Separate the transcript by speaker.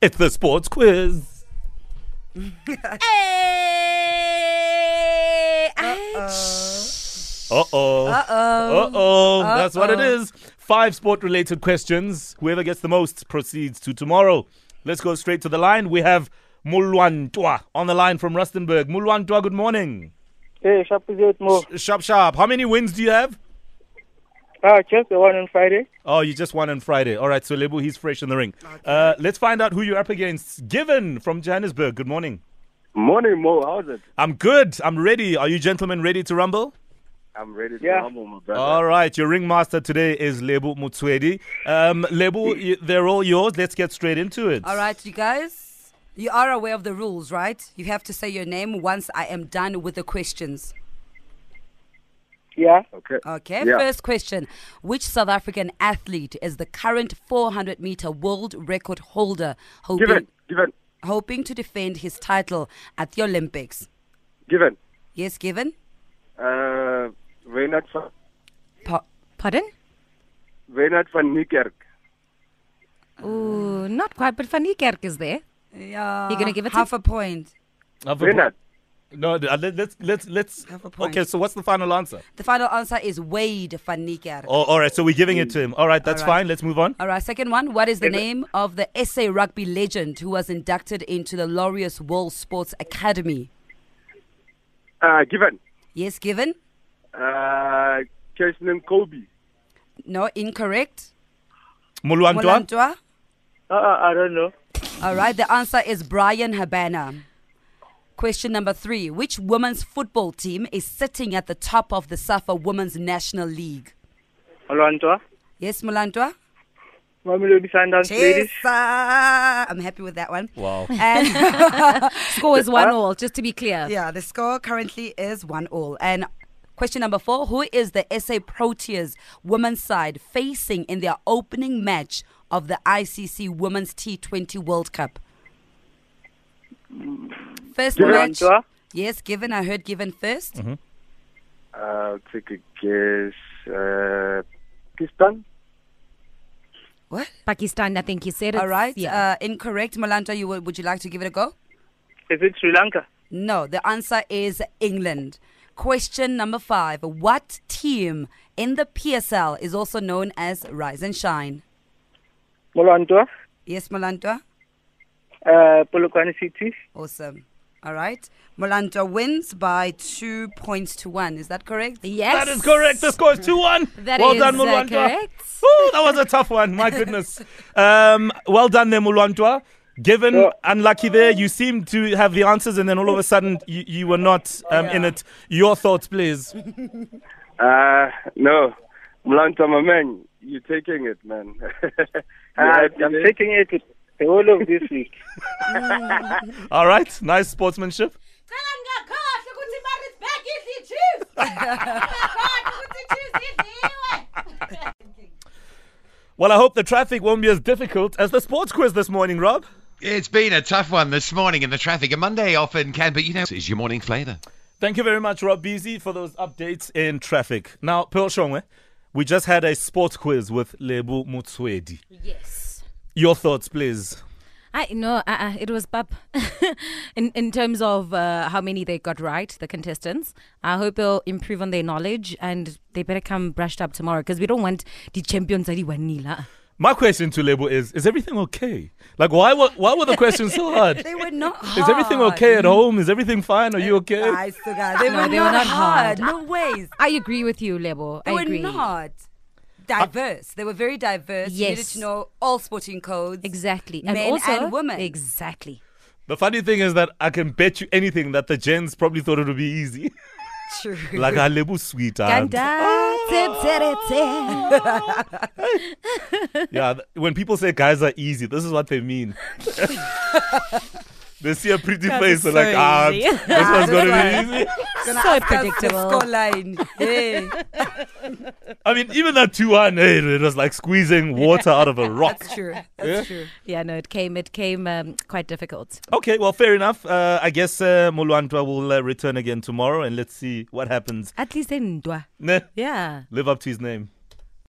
Speaker 1: It's the sports quiz.
Speaker 2: Hey!
Speaker 1: Uh oh. Uh
Speaker 2: Uh-oh.
Speaker 1: Uh oh. That's what it
Speaker 2: Uh-oh.
Speaker 1: is. Five sport related questions. Whoever gets the most proceeds to tomorrow. Let's go straight to the line. We have Mulwantwa on the line from Rustenburg. Mulwantwa, good morning.
Speaker 3: Hey, sharp is eight more.
Speaker 1: Sharp, sharp. How many wins do you have?
Speaker 3: Ah, just the one on Friday.
Speaker 1: Oh, you just won on Friday. All right, so Lebu, he's fresh in the ring. Uh, let's find out who you're up against. Given from Johannesburg. Good morning.
Speaker 4: Morning, Mo. How's it?
Speaker 1: I'm good. I'm ready. Are you gentlemen ready to rumble?
Speaker 4: I'm ready to
Speaker 3: Yeah.
Speaker 4: rumble, my brother.
Speaker 1: All right, your ringmaster today is Lebu Mutswedi. Um, Lebu, y- they're all yours. Let's get straight into it.
Speaker 2: All right, you guys. You are aware of the rules, right? You have to say your name once I am done with the questions.
Speaker 3: Yeah.
Speaker 4: okay.
Speaker 2: Okay,
Speaker 4: Yeah.
Speaker 2: first question. Which South African athlete is the current 400 meter world record holder
Speaker 4: Give
Speaker 2: hoping,
Speaker 4: it. Give it.
Speaker 2: hoping to defend his title at the Olympics?
Speaker 4: Give it.
Speaker 2: Yes, given?
Speaker 4: Uh, Reynard van,
Speaker 2: Pa-
Speaker 5: Pardon?
Speaker 4: Reynard van Niekerk.
Speaker 5: Ooh, Uh, not quite, but Van Niekerk is there.
Speaker 2: yeah.
Speaker 5: You gonna give it to-
Speaker 2: half a point.
Speaker 1: Have a
Speaker 4: Reynard.
Speaker 1: po- No, th- uh, let- let's let's let's.
Speaker 2: Have a point.
Speaker 1: Okay, so what's the final answer?
Speaker 2: The final answer is Wade van Niekerk.
Speaker 1: Oh, all right, so we're giving it to him. All right, that's
Speaker 2: All right.
Speaker 1: fine. Let's move on.
Speaker 2: All right, second one. What is the name of the SA rugby legend who was inducted into the Laureus World Sports Academy?
Speaker 4: Uh, give it.
Speaker 2: Yes, given?
Speaker 4: Uh, Kirsten Kobe.
Speaker 2: No, incorrect.
Speaker 1: Mulwantwa.
Speaker 2: Molantwa?
Speaker 3: Uh, I don't know.
Speaker 2: All right, the answer is Brian Habana. Question number three Which women's football team is sitting at the top of the SAFA Women's National League?
Speaker 3: Olwantwa.
Speaker 2: Yes, Mulantwa?
Speaker 3: Mamelodi Sundowns
Speaker 2: Yes,
Speaker 3: ladies.
Speaker 2: I'm happy with that one.
Speaker 1: Wow.
Speaker 2: And
Speaker 5: Score is one all, just to be clear.
Speaker 2: yeah, the score currently is 1 all. And question number four Who is the SA Proteas women's side facing in their opening match of the ICC Women's T20 World Cup? First match.
Speaker 3: Olwantwa.
Speaker 2: Yes, given. I heard given 1st
Speaker 4: Uh, I'll take a guess. Uh, Pakistan.
Speaker 2: What?
Speaker 5: Pakistan, I think he said it.
Speaker 2: All right.
Speaker 5: Yeah.
Speaker 2: Uh, incorrect. Malanta, you would, would you like to give it a go?
Speaker 3: Is it Sri Lanka?
Speaker 2: No, the answer is England. Question number five. What team in the PSL is also known as Rise and Shine?
Speaker 3: Olwantwa.
Speaker 2: Yes, Malanta?
Speaker 3: Uh, Polokwane City.
Speaker 2: Awesome. All right. Malanta wins by two points to one. Is that correct?
Speaker 5: yes.
Speaker 1: That is correct. The score is 2 1.
Speaker 5: That
Speaker 1: well
Speaker 5: is,
Speaker 1: done,
Speaker 5: uh,
Speaker 1: Mulwantwa.
Speaker 5: correct.
Speaker 1: Woo, that was a tough one. My goodness. Um, well done there, Mulwantwa. Given
Speaker 3: Yeah.
Speaker 1: unlucky there, you seemed to have the answers, and then all of a sudden you, you were not um, in it. Your thoughts, please.
Speaker 4: Uh, no. Mlanta, my man. You're taking it, man.
Speaker 3: Uh, I'm taking it the whole of this week.
Speaker 1: All right, nice sportsmanship. Well, I hope the traffic won't be as difficult as the sports quiz this morning, Rob.
Speaker 6: It's been a tough one this morning in the traffic. A Monday often can, but you know, it's your morning flavour.
Speaker 1: Thank you very much, Rob Beasy, for those updates in traffic. Now, Pearl Shongwe, we just had a sports quiz with Lebu Mutswedi.
Speaker 5: Yes.
Speaker 1: Your thoughts, please.
Speaker 5: I no, uh-uh, it was bub. in in terms of uh, how many they got right, the contestants. I hope they'll improve on their knowledge and they better come brushed up tomorrow because we don't want the champions that nila.
Speaker 1: My question to Lebu is: Is everything okay? Like, why were why were the questions so hard?
Speaker 2: They were not hard.
Speaker 1: Is everything
Speaker 5: Ah,
Speaker 1: okay at home? Is everything fine? Are you okay?
Speaker 2: I still got They
Speaker 5: No,
Speaker 2: were
Speaker 5: they were
Speaker 2: not,
Speaker 5: not
Speaker 2: hard.
Speaker 5: hard.
Speaker 2: No ways.
Speaker 5: I agree with you, Lebo.
Speaker 2: They
Speaker 5: I
Speaker 2: were
Speaker 5: agree.
Speaker 2: not diverse. They were very diverse. You needed
Speaker 5: Yes.
Speaker 2: to know all sporting codes.
Speaker 5: Exactly. And
Speaker 2: Men
Speaker 5: also
Speaker 2: and women.
Speaker 5: Exactly.
Speaker 1: The funny thing is that I can bet you anything that the gents probably thought it would be easy.
Speaker 2: True.
Speaker 1: like a Lebu sweetheart.
Speaker 5: Ganda, tse, tse, tse.
Speaker 1: Yeah, th- when people say guys are easy, this is what they mean. they see a pretty face, they're like,
Speaker 5: so
Speaker 1: ah,
Speaker 5: easy."
Speaker 1: this one's gonna be easy.
Speaker 2: Gonna
Speaker 5: So
Speaker 2: ask us the
Speaker 5: predictable.
Speaker 2: Scoreline. Hey.
Speaker 1: I mean, even that 2 1, it was like squeezing water out of a rock.
Speaker 2: That's true. That's true.
Speaker 5: Yeah, no, it came. It came um, quite difficult.
Speaker 1: Okay, well, fair enough. Uh, I guess uh, Mulwantwa will uh, return again tomorrow and let's see what happens.
Speaker 5: At least in Ndwa.
Speaker 1: Nah,
Speaker 5: Yeah.
Speaker 1: live up to his name.